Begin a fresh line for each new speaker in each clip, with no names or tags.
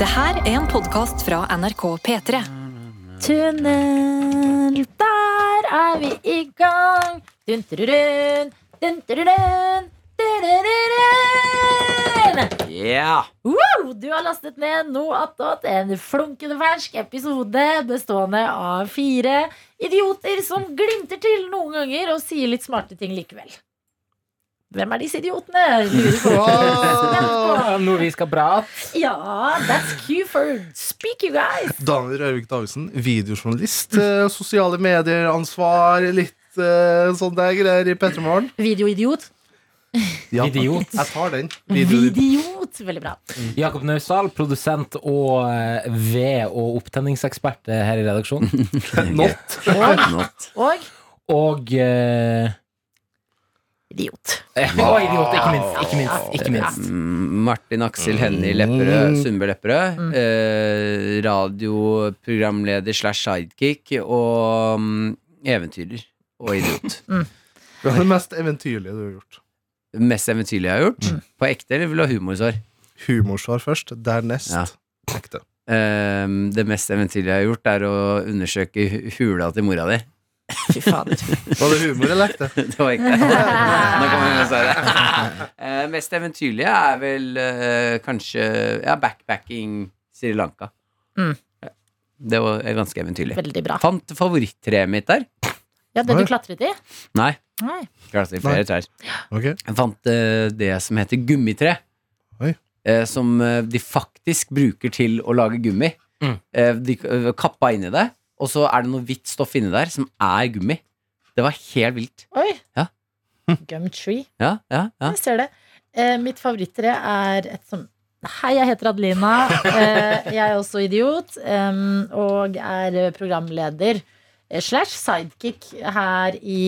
Det her er en podkast fra NRK P3.
Tunnel, der er vi i gang. Dun, dun, dun, dun, dun, dun, dun, dun.
Ja!
Wow, Du har lastet ned noe attåt en flunkende fersk episode bestående av fire idioter som glimter til noen ganger og sier litt smarte ting likevel. Hvem er disse idiotene? Lurer på.
Noe vi skal prate.
Ja, that's Q-Ford. Speak, you guys.
Daniel Rørvik Davidsen, videojournalist, eh, sosiale medier-ansvar, litt eh, sånn der greier i Petremorgen.
Videoidiot.
Ja, takk.
Idiot.
Jeg tar den. Video.
Videoidiot. Veldig bra.
Jakob Naustdal, produsent og eh, ved- og opptenningsekspert eh, her i redaksjonen.
Not.
Not.
Og
Og eh,
idiot.
Og idiot, ikke minst. Ikke minst, ikke minst.
Mm, Martin Aksel Hennie Lepperød, Sundbø Lepperød. Eh, radioprogramleder slash sidekick og mm, eventyrer og idiot.
Det er det mest eventyrlige du har gjort.
Det mest eventyrlige jeg har gjort. På ekte, eller vil du ha humorsvar?
Humorsvar først, dernest
Ja.
ekte.
Eh, det mest eventyrlige jeg har gjort, er å undersøke hu- hula til mora di.
Fy fader.
Var det humor eller ekte?
Det var ekte. Nå kommer jeg med svaret. Eh, mest eventyrlige er vel eh, kanskje ja, backpacking Sri Lanka.
Mm.
Det var eh, ganske eventyrlig.
Veldig bra.
Fant favorittreet mitt der.
Ja, Det du
Oi.
klatret i?
Nei,
Nei.
klarte i flere
Nei.
trær.
Ok.
Jeg fant eh, det som heter gummitre.
Oi.
Eh, som eh, de faktisk bruker til å lage gummi.
Mm.
Eh, de eh, kappa inni det, og så er det noe hvitt stoff inni der som er gummi. Det var helt vilt.
Oi.
Ja.
Gum tree.
Ja, ja, ja.
Jeg ser det. Eh, mitt favorittre er et som Hei, jeg heter Adelina. Eh, jeg er også idiot. em, og er programleder eh, slash sidekick her i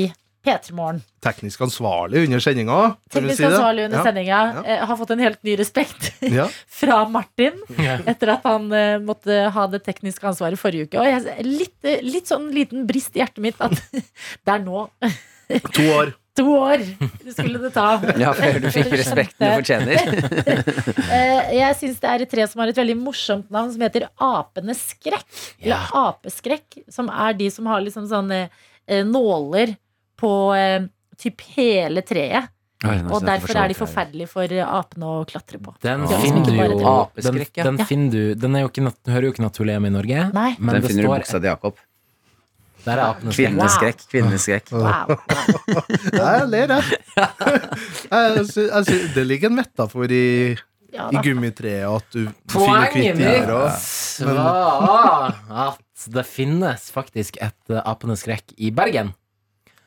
P3 Morgen.
Teknisk ansvarlig under sendinga. kan vi
Teknisk
si det?
ansvarlig under sendinga.
Ja.
eh, har fått en helt ny respekt
Ja.
fra Martin
Ja.
etter at han eh, måtte ha det tekniske ansvaret forrige uke. Og jeg, litt, eh, litt sånn liten brist i hjertet mitt at det er nå
ja. To år.
to år det skulle det ta.
ja før du fikk respekten du fortjener.
Eh, Jeg syns det er et tre som har et veldig morsomt navn, som heter Apenes skrekk.
Ja.
Eller apeskrekk, som er de som har liksom sånne eh, nåler på eh, typ hele treet. Og derfor er de forferdelige for eh, apene å klatre på.
Den
Ja.
finner du jo den,
Apeskrekk, ja.
den, finner du, den er jo ikke, nat- hører jo ikke naturlig hjemme i Norge.
Nei.
Men
Den
det
finner du i
står
buksa til Jakob.
Der er apenes
Kvinneskrekk. kvinneskrekk
Wow.
Jeg ler, jeg. jeg, sy jeg sy det ligger en metafor i,
Ja,
i
da.
gummitreet at du finner
Poenget
kvitt i
mitt
her og
var at det finnes faktisk et eh, apenes skrekk i Bergen.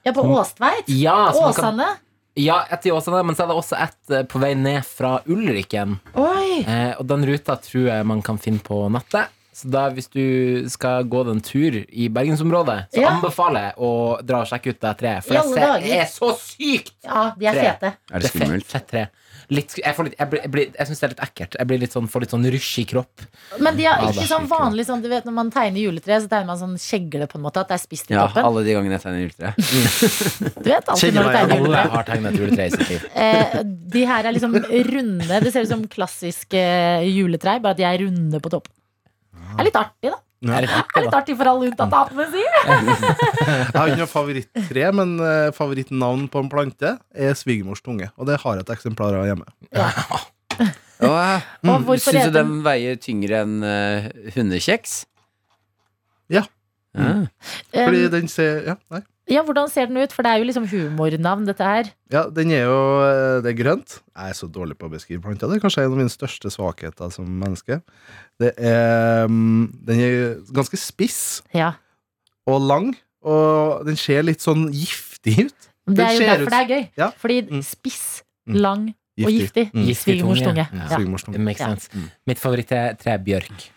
ja, på Åstveit.
Ja, så man kan-
Åsane.
Ja, ett i Åsane, men så er det også ett eh, på vei ned fra Ulriken.
Oi!
Eh, og den ruta tror jeg man kan finne på nettet. Så da hvis du skal gå den tur i bergensområdet, så
Ja.
anbefaler jeg å dra og sjekke ut det
I
treet. For
alle
det ser-
dager.
er så sykt!
Ja, de er
Tre.
fete.
Er det
er fett,
skummelt?
fett tre. Litt, sk- jeg får litt- jeg blir- jeg blir- jeg syns det er litt ekkelt. Jeg blir litt sånn, får litt sånn rush i kropp.
Men de er
Ja, det
ikke
er
sånn
skikkelig.
vanlig sånn, du vet når man tegner juletre, så tegner man sånn kjegle på en måte, at det er spist i
Ja,
toppen.
alle de gangene jeg tegner juletre.
Du vet alltid
Kjegle
når du
meg,
tegner
Alle
juletre.
har tegna et juletre i sitt liv.
Eh, de her er liksom runde. Det ser ut som klassiske juletrær, bare at de er runde på toppen. Det er litt artig, da.
Er
Det
det
er
fett,
litt
da?
artig for alle unntatt apene, si.
Jeg har ikke noe favorittre, men eh, favorittnavn på en plante er svigermors tunge. Og det har jeg et eksemplar av hjemme.
Og hvorfor
Mm. Syns
heter
du
den-
den veier tyngre enn eh, hundekjeks?
Ja. Mm.
Ja.
Fordi
Eh,
den ser Ja, nei.
ja, hvordan ser den ut? For det er jo liksom humornavn, dette her.
Ja, den er jo eh, Det er grønt. Jeg er så dårlig på å beskrive planter. Det er kanskje en av mine største svakheter som menneske. Det er mm, Den er ganske spiss
Ja.
og lang, og den ser litt sånn giftig ut.
Men Det
Den
er jo
ser
derfor
ut-
det er gøy.
Ja.
Fordi
Mm.
spiss,
Mm.
lang og giftig.
Mm.
Giftig
Svigermors tunge.
tunge.
Ja.
Svigermors
Det
tunge.
makes
Ja.
sense. Mitt favoritttre er bjørk.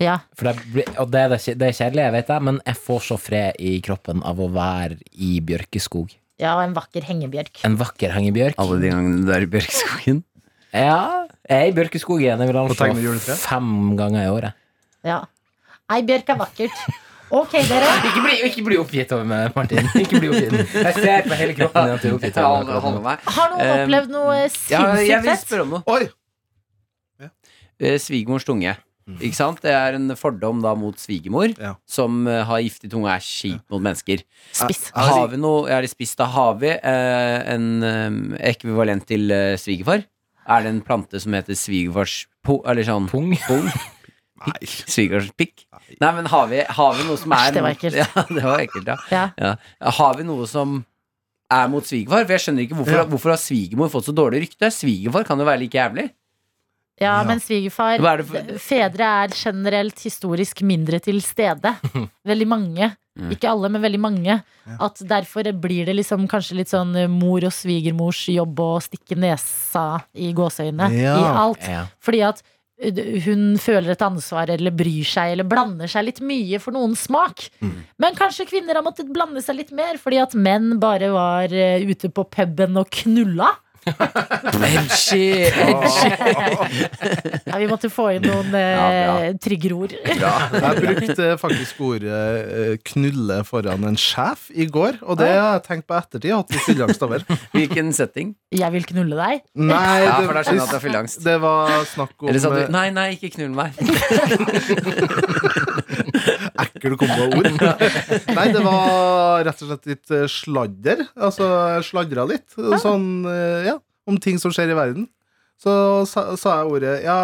Ja.
For det blir- og det er, det kje- det er kjedelig, jeg vet det, men jeg får så fred i kroppen av å være i bjørkeskog.
ja, og en vakker hengebjørk.
En vakker hengebjørk.
Alle de gangene du er i Bjørkeskogen.
Ja, jeg er i bjørkeskogen. Jeg vil
tegne juletre?
anslå fem ganger i året.
Ja. Ei bjørk er vakkert. Ok, dere.
Ikke bli, oppgitt over meg, Martin. Ikke bli oppgitt. Jeg ser på hele kroppen din at du er oppgitt.
Hold- hold meg.
Har noen
Eh,
opplevd noe
Ja,
sinnssykt
jeg vil
fett?
spørre om noe.
Oi!
Eh, Svigermors tunge. Ikke sant? Det er en fordom da mot svigermor,
Mm. Ja.
som eh, har giftig tunge og er kjip mot mennesker.
Spiss.
Er- er-
Har vi noe Er det spiss? Da har vi eh, en eh, ekvivalent til eh, svigerfar. Er det en plante som heter svigerfars po... Eller sånn
Pung.
Nei.
Svigers pikk? Nei, men har vi, har vi noe som er
Æsj, det var ekkelt.
Ja, det var ekkelt, ja.
Ja.
Ja. Har vi noe som er mot svigerfar? For jeg skjønner ikke hvorfor,
Ja.
hvorfor har svigermor fått så dårlig rykte? Svigerfar kan jo være like jævlig.
Ja,
Ja.
men svigerfar
Hva er det for-
Fedre er generelt historisk mindre til stede. Veldig mange.
Mm.
Ikke alle, men veldig mange. At derfor blir det liksom kanskje litt sånn eh, mor og svigermors jobb å stikke nesa i gåseøynene
Ja.
i alt.
Ja.
Fordi at eh, d- hun føler et ansvar eller bryr seg eller blander seg litt mye for noen smak.
Mm.
Men kanskje kvinner har måttet blande seg litt mer fordi at menn bare var eh, ute på puben og knulla.
Edgy, edgy.
Ja, vi måtte få inn noen eh, triggerord.
Jeg brukte faktisk ordet eh, 'knulle' foran en sjef i går, og det har jeg tenkt på ettertid. At vi fyllangst over.
Hvilken setting?
Jeg vil knulle deg.
Nei,
Ja,
det,
for da skjønner jeg at det er fyllangst.
det var snakk om
Eller sa
eh,
du Nei, nei, ikke knull meg.
ekkel kombo av ord. Nei, det var rett og slett litt eh, sladder. Altså jeg sladra litt. Sånn, eh, ja, om ting som skjer i verden. Så sa, sa jeg ordet Ja,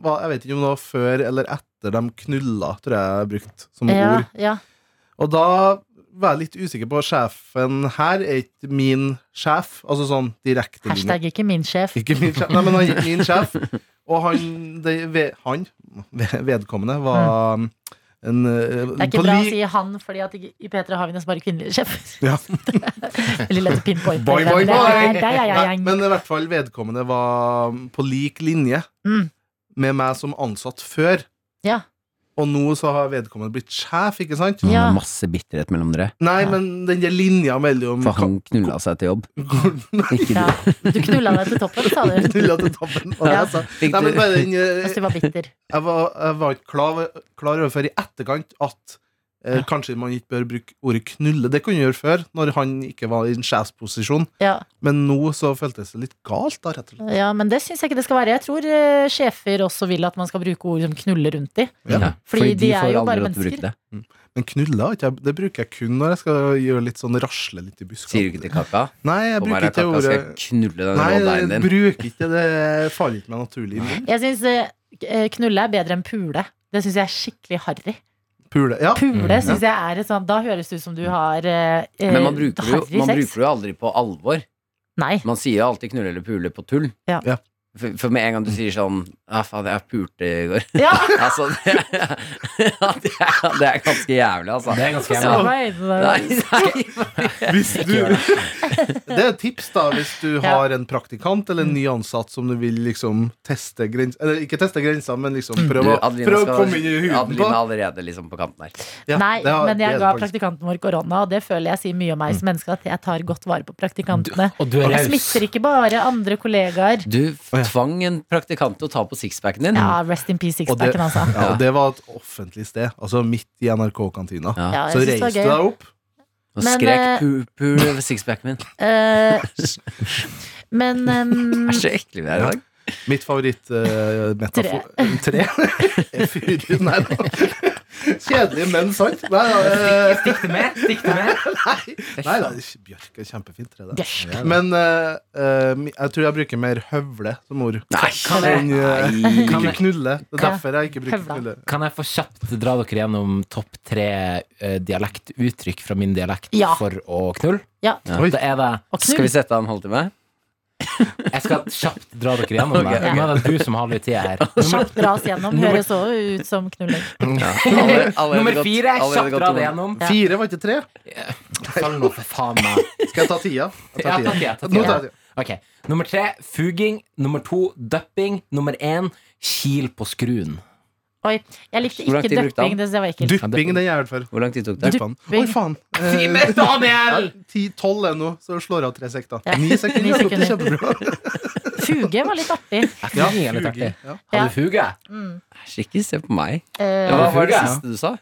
hva, jeg vet ikke om det var før eller etter de knulla, tror jeg jeg brukte som
Ja,
ord.
ja.
Og da var jeg litt usikker på Sjefen her er ikke min sjef. Altså sånn direkte linje.
Hashtag ikke min sjef.
Ikke min sjef, nei, men han gikk min sjef. Og han, det, ve- han ve- vedkommende, var en eh,
Mm. Det er ikke
på
bra å
lik-
si han, fordi at i i P3 har vi nesten bare kvinnelige sjefer.
Ja.
Veldig lett å pinpointe.
Boing,
Det er-
boing,
det er-
boing.
det er jeg, jeg,
Nei,
jeg.
men i hvert fall vedkommende var på lik linje
Mm.
med meg som ansatt før.
Ja.
Og nå så har vedkommende blitt sjef, ikke sant?
Ja.
Det er Masse bitterhet mellom dere.
Nei, men den der linja mellom
For han knulla seg til jobb. Ikke
Ja.
du.
Du knulla deg til toppen, sa du.
Knulla til toppen. Og
Ja.
jeg sa-
altså. Fikk
Nei, men
du
bare den eh,
Hvis du var bitter.
Jeg var, jeg var ikke klar, klar over før i etterkant at eh, kanskje man ikke bør bruke ordet knulle. Det kunne jeg gjøre før, når han ikke var i en sjefsposisjon.
Ja,
Men nå så føltes det litt galt, da, rett og slett.
ja men det syns jeg ikke det skal være. Jeg tror eh, sjefer også vil at man skal bruke ord som knulle rundt de.
Ja.
Fordi de er
får
jo bare
aldri lov til å bruke
mennesker.
det.
Men knulle har ikke jeg- det bruker jeg kun når jeg skal gjøre litt sånn rasle litt i buskene.
Sier du ikke til kaka?
Nei, jeg
Om her
bruker
er
ikke
kaka, skal altså, jeg
ordet
knulle den
Nei,
rå deigen
jeg
din.
bruker ikke det. faller ikke meg naturlig i munnen.
Jeg syns eh, knulle er bedre enn pule. Det syns jeg er skikkelig harry.
Pule. Ja.
Pule syns jeg er et sånt Da høres det ut som du har eh, eh,
Men man bruker, det jo,
harry
man
sex.
bruker det jo aldri på alvor.
Nei.
Man sier jo alltid 'knulle eller pule' på tull.
Ja.
Ja.
For, for med en gang du sier sånn 'ja, faen, jeg pulte i går'
Ja,
Altså, det er, det er, det er ganske jævlig, altså.
Det er ganske
så
jævlig.
meg øynene der.
Nei, nei.
Hvis du, det er et tips, da, hvis du
Ja.
har en praktikant eller en ny ansatt som du vil liksom teste grenser Eller ikke teste grenser, men liksom
Mm.
prøve å-
Adeline
prøve å
skal-
komme inn i huden
Adeline
på.
er allerede liksom på kanten her.
Ja,
Nei,
det har-
men jeg
det er
ga
det faktisk.
praktikanten vår korona, og det føler jeg sier mye om meg som menneske, at jeg tar godt vare på praktikantene.
Og du er
Jeg
raus.
smitter ikke bare andre kollegaer.
Du
ja.
tvang en praktikant til å ta på sixpacken din.
Ja, rest in peace,
Og det-
sixpacken, altså.
Ja, og det var et offentlig sted, altså midt i NRK-kantina.
Ja.
Ja,
Så
jeg
reiste
synes
du
det var gøy.
deg opp.
Og
Men,
skrek
eh,
'pul pul over sixpacken min'.
Eh, men ehm,
Det er så ekle vi er i dag.
Mitt favorittmetafor Tre? Fyr, nei da. Kjedelig, men sant. Nei, da, eh,
Stikk det med. Stikk det med.
nei, nei da. Bjørk er kjempefint tre. det.
Bjørsk.
Men eh, eh, jeg tror jeg bruker mer høvle som ord.
Nei,
Kan jeg-
Enn, eh,
Kan
Ikke
jeg-
knulle. Det er
Kan-
derfor jeg ikke bruker
Høvla.
knulle.
Kan jeg få kjapt dra dere gjennom topp tre eh, dialektuttrykk fra min dialekt
Ja.
for å knulle?
Ja.
Oi.
Da er det
Og
Skal vi
knull.
sette av en halvtime?
Jeg skal kjapt dra dere gjennom det.
Ok, ok.
Nå er det du som har litt tid her. Nummer,
Kjapt dras gjennom. Høres òg ut som knulling.
Alle- allerede
nummer
gått-
fire.
allerede
Kjapt
gått
dra det
to-
gjennom.
Ja.
Fire, var ikke tre?
Følg nå, for faen meg.
Skal jeg ta tida? Jeg
Ja,
tar
ta
tida.
tida, ta
Nå tar jeg
tida.
tida.
Ok, Nummer tre fuging. Nummer to dupping. Nummer én kil på skruen.
Oi. Jeg likte
Hvor lang
ikke
tid brukte han?
dupping. Det synes jeg var ekkelt.
Dupping, den er jeg i hvert fall.
Hvor lang tid tok det?
Dupping. Oi, faen. Eh,
Daniel!
ti- Tolv er nå, så slår jeg av tre sekter.
Ja.
Ni sekter.
Ni
jeg tok det
sekunder.
Kjempebra.
Fuge var litt artig.
Ja,
Fuging er litt artig.
fuging, ja.
Har du fuge?
Æsj, ikke se på meg.
Eh,
Hva var det
Ja.
siste du sa?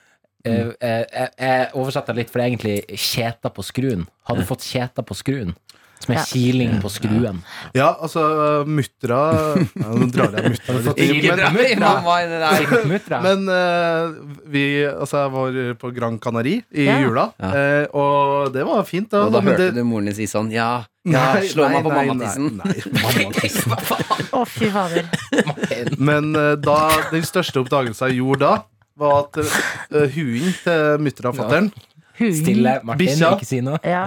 Eh, eh, eh, Jeg oversetter litt, for det er egentlig kjeta på skruen. Har du fått kjeta på skruen? Som er
Ja.
kiling på skruen.
Ja, altså, muttra ja, Nå drar jeg muttra litt.
Ikke
Men,
dra i mamma inn i det her.
Muttra.
men eh, vi Altså, jeg var på Gran Canari i
Ja.
jula,
Ja.
eh, og det var fint, da.
Og da
men
hørte
det-
du moren din si sånn Ja, ja
Nei,
slå
nei,
meg på
nei,
mammatissen.
Nei, nei, mammatissen.
Å, fy fader.
Men eh, da, den største oppdagelsen jeg gjorde da, var at uh, hunden til mutter og fatter'n,
Huden.
Stille, Martin.
Bikkja.
Ikke si noe.
Ja,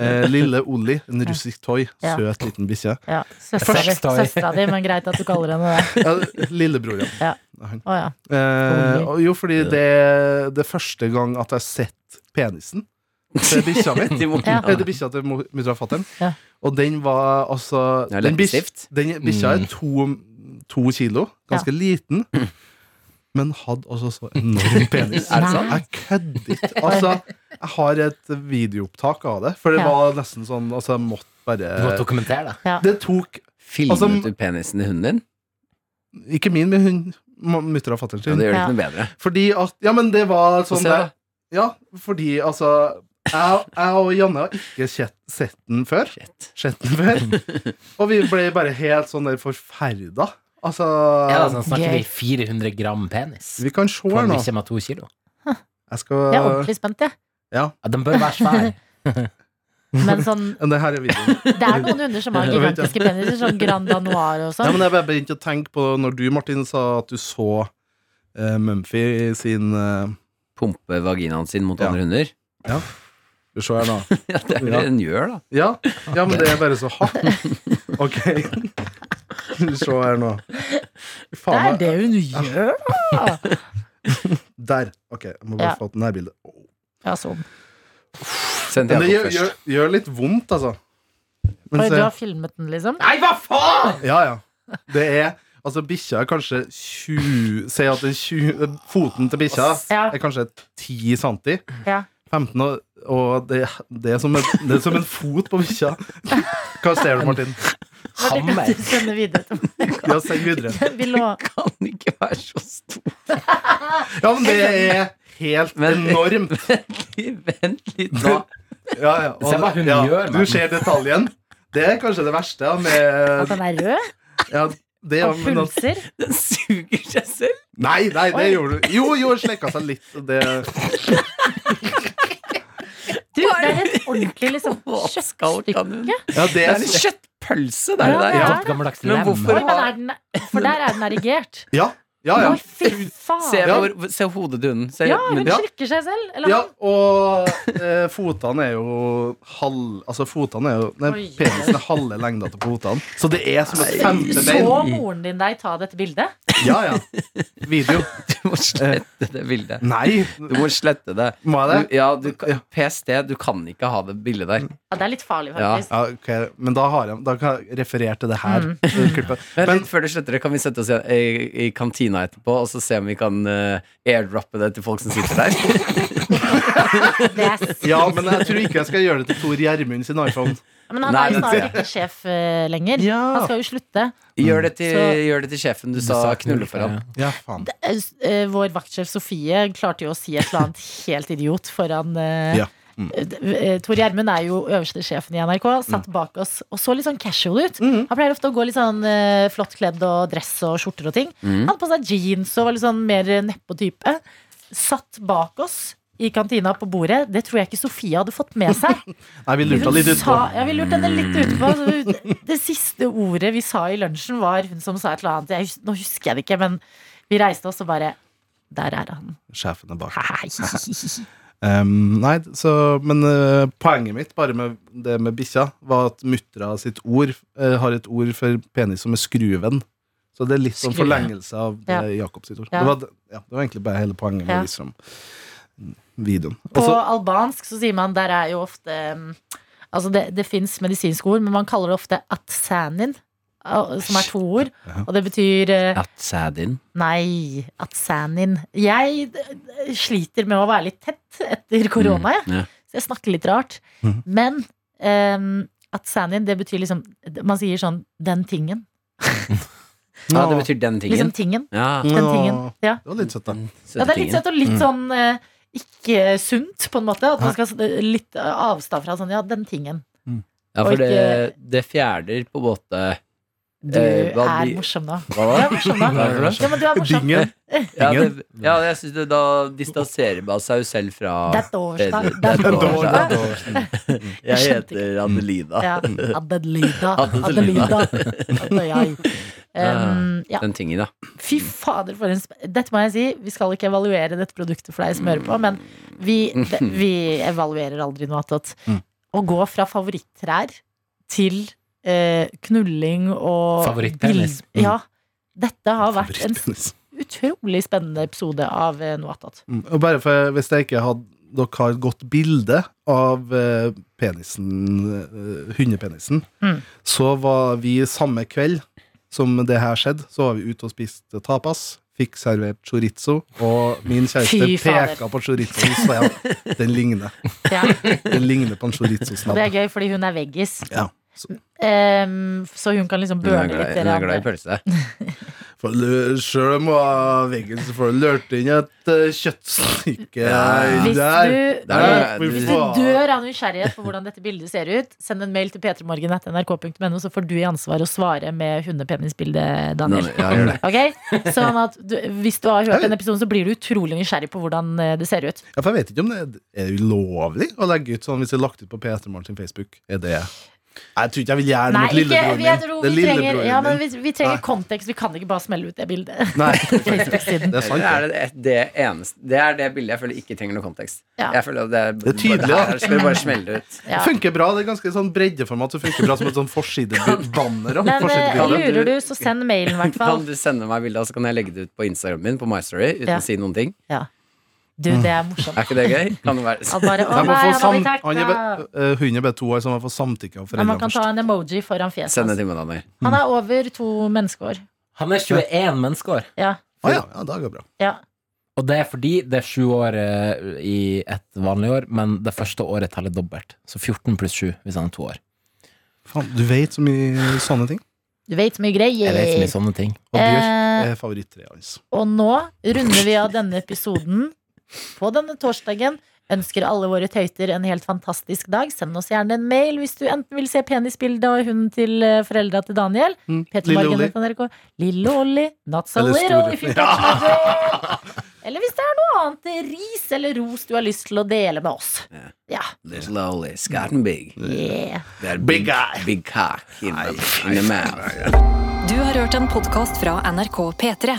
eh, lille Olli, en russisk toy,
Ja.
søt liten bikkje
ja. Søstera di,
Sex toy.
søstera di, men greit at du kaller henne det.
ja, Lillebror, ja.
Ja.
Han.
Å ja.
Eh, og jo, fordi det det er første gang at jeg har sett penisen til bikkja mi.
Til moren.
Ja.
Eh, Til bikkja til mo- mutter og fatter'n.
Ja.
Og den var altså
Ja,
Den bikkja
leppestift. Mm.
den bikkja er to, to kilo, ganske liten, men hadde altså så enorm penis.
Er det sant?
Jeg kødder ikke. Altså, jeg har et videoopptak av det, for det
Ja.
var nesten sånn Altså, jeg måtte
Du må
bare
dokumentere det.
Det tok
Filmet
Altså,
du penisen til hunden din?
ikke min, men hun mutter og fatter'n
Ja,
sin.
det gjør det
Ja.
ikke noe bedre.
Fordi at Ja, men det var sånn
se
der
da.
Ja, fordi altså jeg, jeg og Janne har ikke sett, sett den før.
Shit.
Sett den før. Og vi ble bare helt sånn der forferda. Altså
Ja, altså, snakker
gøy.
vi 400 gram penis.
Vi kan se
På
her
en
nå.
bikkje med to kilo.
Jeg skal
Jeg er ordentlig spent, jeg.
Ja, den bør være svær.
Men sånn,
Det her er videoen.
det er noen hunder som har
Jeg vet
gigantiske peniser, sånn Granda Noir og
Ja,
sånn.
men jeg bare begynte å tenke på når du, Martin, sa at du så eh, Mumphy sin eh,
Pumpe vaginaen sin mot
Ja.
andre hunder.
Skal vi se her nå.
Ja, det er det
Ja.
den gjør, da.
Ja, ja, men det er bare så hardt. Ok. Skal vi se her nå.
Det
Faen,
er det hun gjør!
Der. Ok, jeg må
Ja.
bare få et nærbilde.
Ja, sånn.
Send
Men det
Jakob
gjør,
først.
gjør, gjør litt vondt, altså.
Oi,
Men
du
se,
har filmet den, liksom?
ja, ja. Det er Altså, bikkja er kanskje 20 Si at den 20, foten til bikkja
Ja.
er kanskje 10 cm.
Ja.
15, og, og det, det, er som en, det er som en fot på bikkja. Hva ser du, Martin?
Martin,
Hammer.
kan du sende videre til meg?
Ja, send videre.
Vi lå-
Kan ikke være så stor.
Ja, men det er helt
Men-
enormt.
Vent litt nå.
Ja, ja.
Se hva hun gjør,
Du
men.
ser detaljen. Det er kanskje det verste ja,
At
med
den er rød
ja, det, er-
og
men altså- at-
pulser?
Den suger seg selv.
Nei, nei, det
Oi.
gjorde du. Jo, jo, slekka seg litt. Det,
Du, det er et ordentlig liksom
Hva skal
kjøttstykke.
den?
ja, det
Det er
er
en kjøttpølse, det er det der.
Ja.
Godt gammeldags
Men
lem.
hvorfor-
Oi, men er den, for der er den erigert.
Ja, ja, ja.
Oi, fy
Se,
faen!
Ja.
hvor, se hodet til hunden. Se,
Ja, hun
men,
Ja.
slikker seg selv. Eller
ja
han.
og eh, fotene er jo halv Altså, fotene er jo Nei,
Oi.
penisen er halve lengda til fotene. Så det er som et femte
Så
bein.
moren din deg ta dette bildet?
Ja, ja. Eh. Video.
du må slette det bildet.
Nei,
Du må slette det.
må
Du,
jeg det? Mm.
ja, du, kan- PST, du kan ikke ha det bildet der.
Ja, det er litt farlig,
Ja.
faktisk.
Ja, ok, Men da, har jeg, da kan jeg referere til det her.
Mm.
Klippet.
Men,
Men-
litt før du sletter det, kan vi sette oss i, i, i kantina etterpå og så se om vi kan eh, airdroppe det til folk som sitter der.
Det er s-
Ja, men jeg tror ikke jeg skal gjøre det til Tor Gjermund sin iPhone.
Men han
Nei,
er jo
men-
snart ikke sjef eh, lenger.
Ja.
Han skal jo slutte.
Gjør det til,
Så-
gjør det til sjefen du sa knulle foran.
Ja, faen.
Eh, s- eh, Vår vaktsjef Sofie klarte jo å si et eller annet helt idiot foran eh,
Ja.
eh, d- eh, Tor Gjermund er jo øverste sjefen i NRK, satt
Mm.
bak oss og så litt sånn casual ut. Han pleier ofte å gå litt sånn eh, flott kledd og dress og skjorter og ting.
Mm.
Han hadde på seg jeans og var litt sånn mer nedpå type. Satt bak oss i kantina på bordet. Det tror jeg ikke Sofie hadde fått med seg.
Nei, vi lurte
Hun
litt utpå.
sa- Ja, vi lurte henne litt utpå. så hun- Det siste ordet vi sa i lunsjen, var hun som sa et eller annet. Jeg, hus- nå husker jeg det ikke, men vi reiste oss og bare Der er han.
Sjefen er bak.
Hei.
Ehm, nei, så, men eh, poenget mitt bare med det med bikkja, var at muttra sitt ord eh, har et ord for penis som er skruven. Så det er litt sånn
Skruven.
forlengelse av det Jakob sitt ord.
Ja.
Det, var, ja, det var egentlig bare hele poenget med
Ja.
å vise fram videoen. Altså,
På
Og så-
albansk så sier man Der er jo ofte um, Altså, det, det fins medisinske ord, men man kaller det ofte atsanin. uh, Som er to ord, og det betyr eh,
At sædin.
Nei, atsanin. Jeg eh, sliter med å være litt tett
Mm.
etter korona, jeg.
Mm, Ja.
Så jeg snakker litt rart.
Mhm.
Men ehm, at sanin, det betyr liksom Man sier sånn 'den tingen'.
ja, det betyr den
Liksom
tingen.
tingen.
Ja.
Den
Nå.
tingen. Ja.
Det var litt søtt, da.
ja, det er litt
Søtetingen.
søtt og
Mm.
litt sånn eh, eh, ikke sunt, på en måte. At man skal ha litt eh, avstand fra sånn 'ja, den tingen'.
Ja,
Og
for
ikke-
det, det fjerder på en måte
Du
Eh, hva
er
blir-
morsom, da.
Hva
Du
da?
er morsom, da.
Hva er det
Ja,
for noe?
men du er morsom.
Bingen.
Ja, det, ja jeg synes det, da distanserer man seg jo selv fra
Det er torsdag.
Det- det er torsdag.
torsdag.
Jeg
skjønte
heter Adelina.
Ja. Adelina.
Adelina.
Adelina. Adelina. Um, ja.
Den tingen, da.
Fy fader, for en sp Dette må jeg si, vi skal ikke evaluere dette produktet for deg som hører på, men vi, det- vi evaluerer aldri noe attåt.
Mm.
Å gå fra favorittrær til eh, knulling og
Favorittpenis.
bild-
Mm.
Ja. Dette har vært en
Favorittpenis.
utrolig spennende episode av eh, noe attåt.
Mm. Og bare for hvis jeg ikke hadde dere har et godt bilde av eh, penisen, eh, hundepenisen,
Mm.
så var vi samme kveld som det her skjedde, så var vi ute og spiste tapas, fikk servert chorizo, og min kjæreste
Fy fader.
peka på chorizoen og sa ja, den ligner.
Ja.
Den ligner på en
Og det er
chorizo-snabb.
gøy, fordi hun er veggis.
Ja. Så-
Em, så hun kan liksom
Hun er
burne
glad,
litt
hun
dere
er glad i
andre.
pølse.
For lø- Sjøl om hun var vegan, så får du lurt inn et eh, kjøttstykke
Ja.
Hvis
der.
du,
Der,
fy
hvis du
faen.
dør av nysgjerrighet på hvordan dette bildet ser ut, send en mail til p3morgen.nrk.no, så får du i ansvar å svare med hundepenisbildet, Daniel.
Ja, gjør det.
Ok? Sånn at du, Hvis du har hørt
Jeg
den episoden, så blir du utrolig nysgjerrig på hvordan eh, det ser ut.
Ja, for jeg vet ikke om det er- er det ulovlig å legge ut sånn hvis det er lagt ut på P3 Morgen sin Facebook. Er det Nei, Jeg tror ikke jeg vil gjøre det
Nei,
mot
ikke,
lillebroren
vi,
min.
jeg tror
Det er
vi trenger,
lillebroren
ja,
min.
men vi, vi trenger
Ah.
Nei.
kontekst. Vi kan ikke bare smelle ut det bildet.
Nei,
Facebook-siden.
det er
Eller
sant. det.
er det, det, det, eneste, det er det bildet jeg føler ikke trenger noe kontekst.
Ja.
Jeg føler at det, er,
Det er tydelig, da.
her skal vi bare smelle ut.
Det
Ja.
funker bra. Det er ganske sånn breddeformat. Så det funker bra som et sånn forsidebanner. og
Men eh,
forsidebilde.
du-
lurer du, så send mailen, i hvert
Kan
fall.
du sende meg bildet, så kan jeg legge det ut på Instagram min på My Story uten
Ja.
å si noen ting?
Du, det er morsomt.
Er ikke det gøy? Kan det være
Han bare, å
Jeg må
nei,
få
han har
sam-
blitt
han er
hacka.
be- eh, Hunden er bare to år, så han må få samtykke
Men
av
man
foreldrene
kan ta
først.
en emoji foran fjeset.
Send det
hans.
til meg, Daniel.
Han er over to menneskeår.
Han er 21 menneskeår,
Ja,
Å ja, ja, da går det bra.
ja.
og det er fordi det er sju år eh, i et vanlig år, men det første året teller dobbelt. Så 14 pluss 7 hvis han er to år.
Faen, du vet så mye sånne ting.
Du vet mye greier.
Jeg vet så
sånn.
mye sånne ting.
Og Bjørk
Eh,
er favorittreet hans.
og nå runder vi av denne episoden på denne torsdagen. Ønsker alle våre tøyter en helt fantastisk dag. Send oss gjerne en mail hvis du enten vil se penisbildet av hunden til eh, foreldra til Daniel.
Mm.
Peter
Lille
Morgan
Olli.
heter NRK. Lille Olli. Not so
Eller
little,
store.
if you catch my drift. Eller hvis det er noe annet eh, ris eller ros du har lyst til å dele med oss.
Ja.
Ja.
Little Ollie, scarten big.
Yeah.
Det er
Big guy.
Big cock in the, in the mouth.
Du har hørt en podkast fra NRK P3.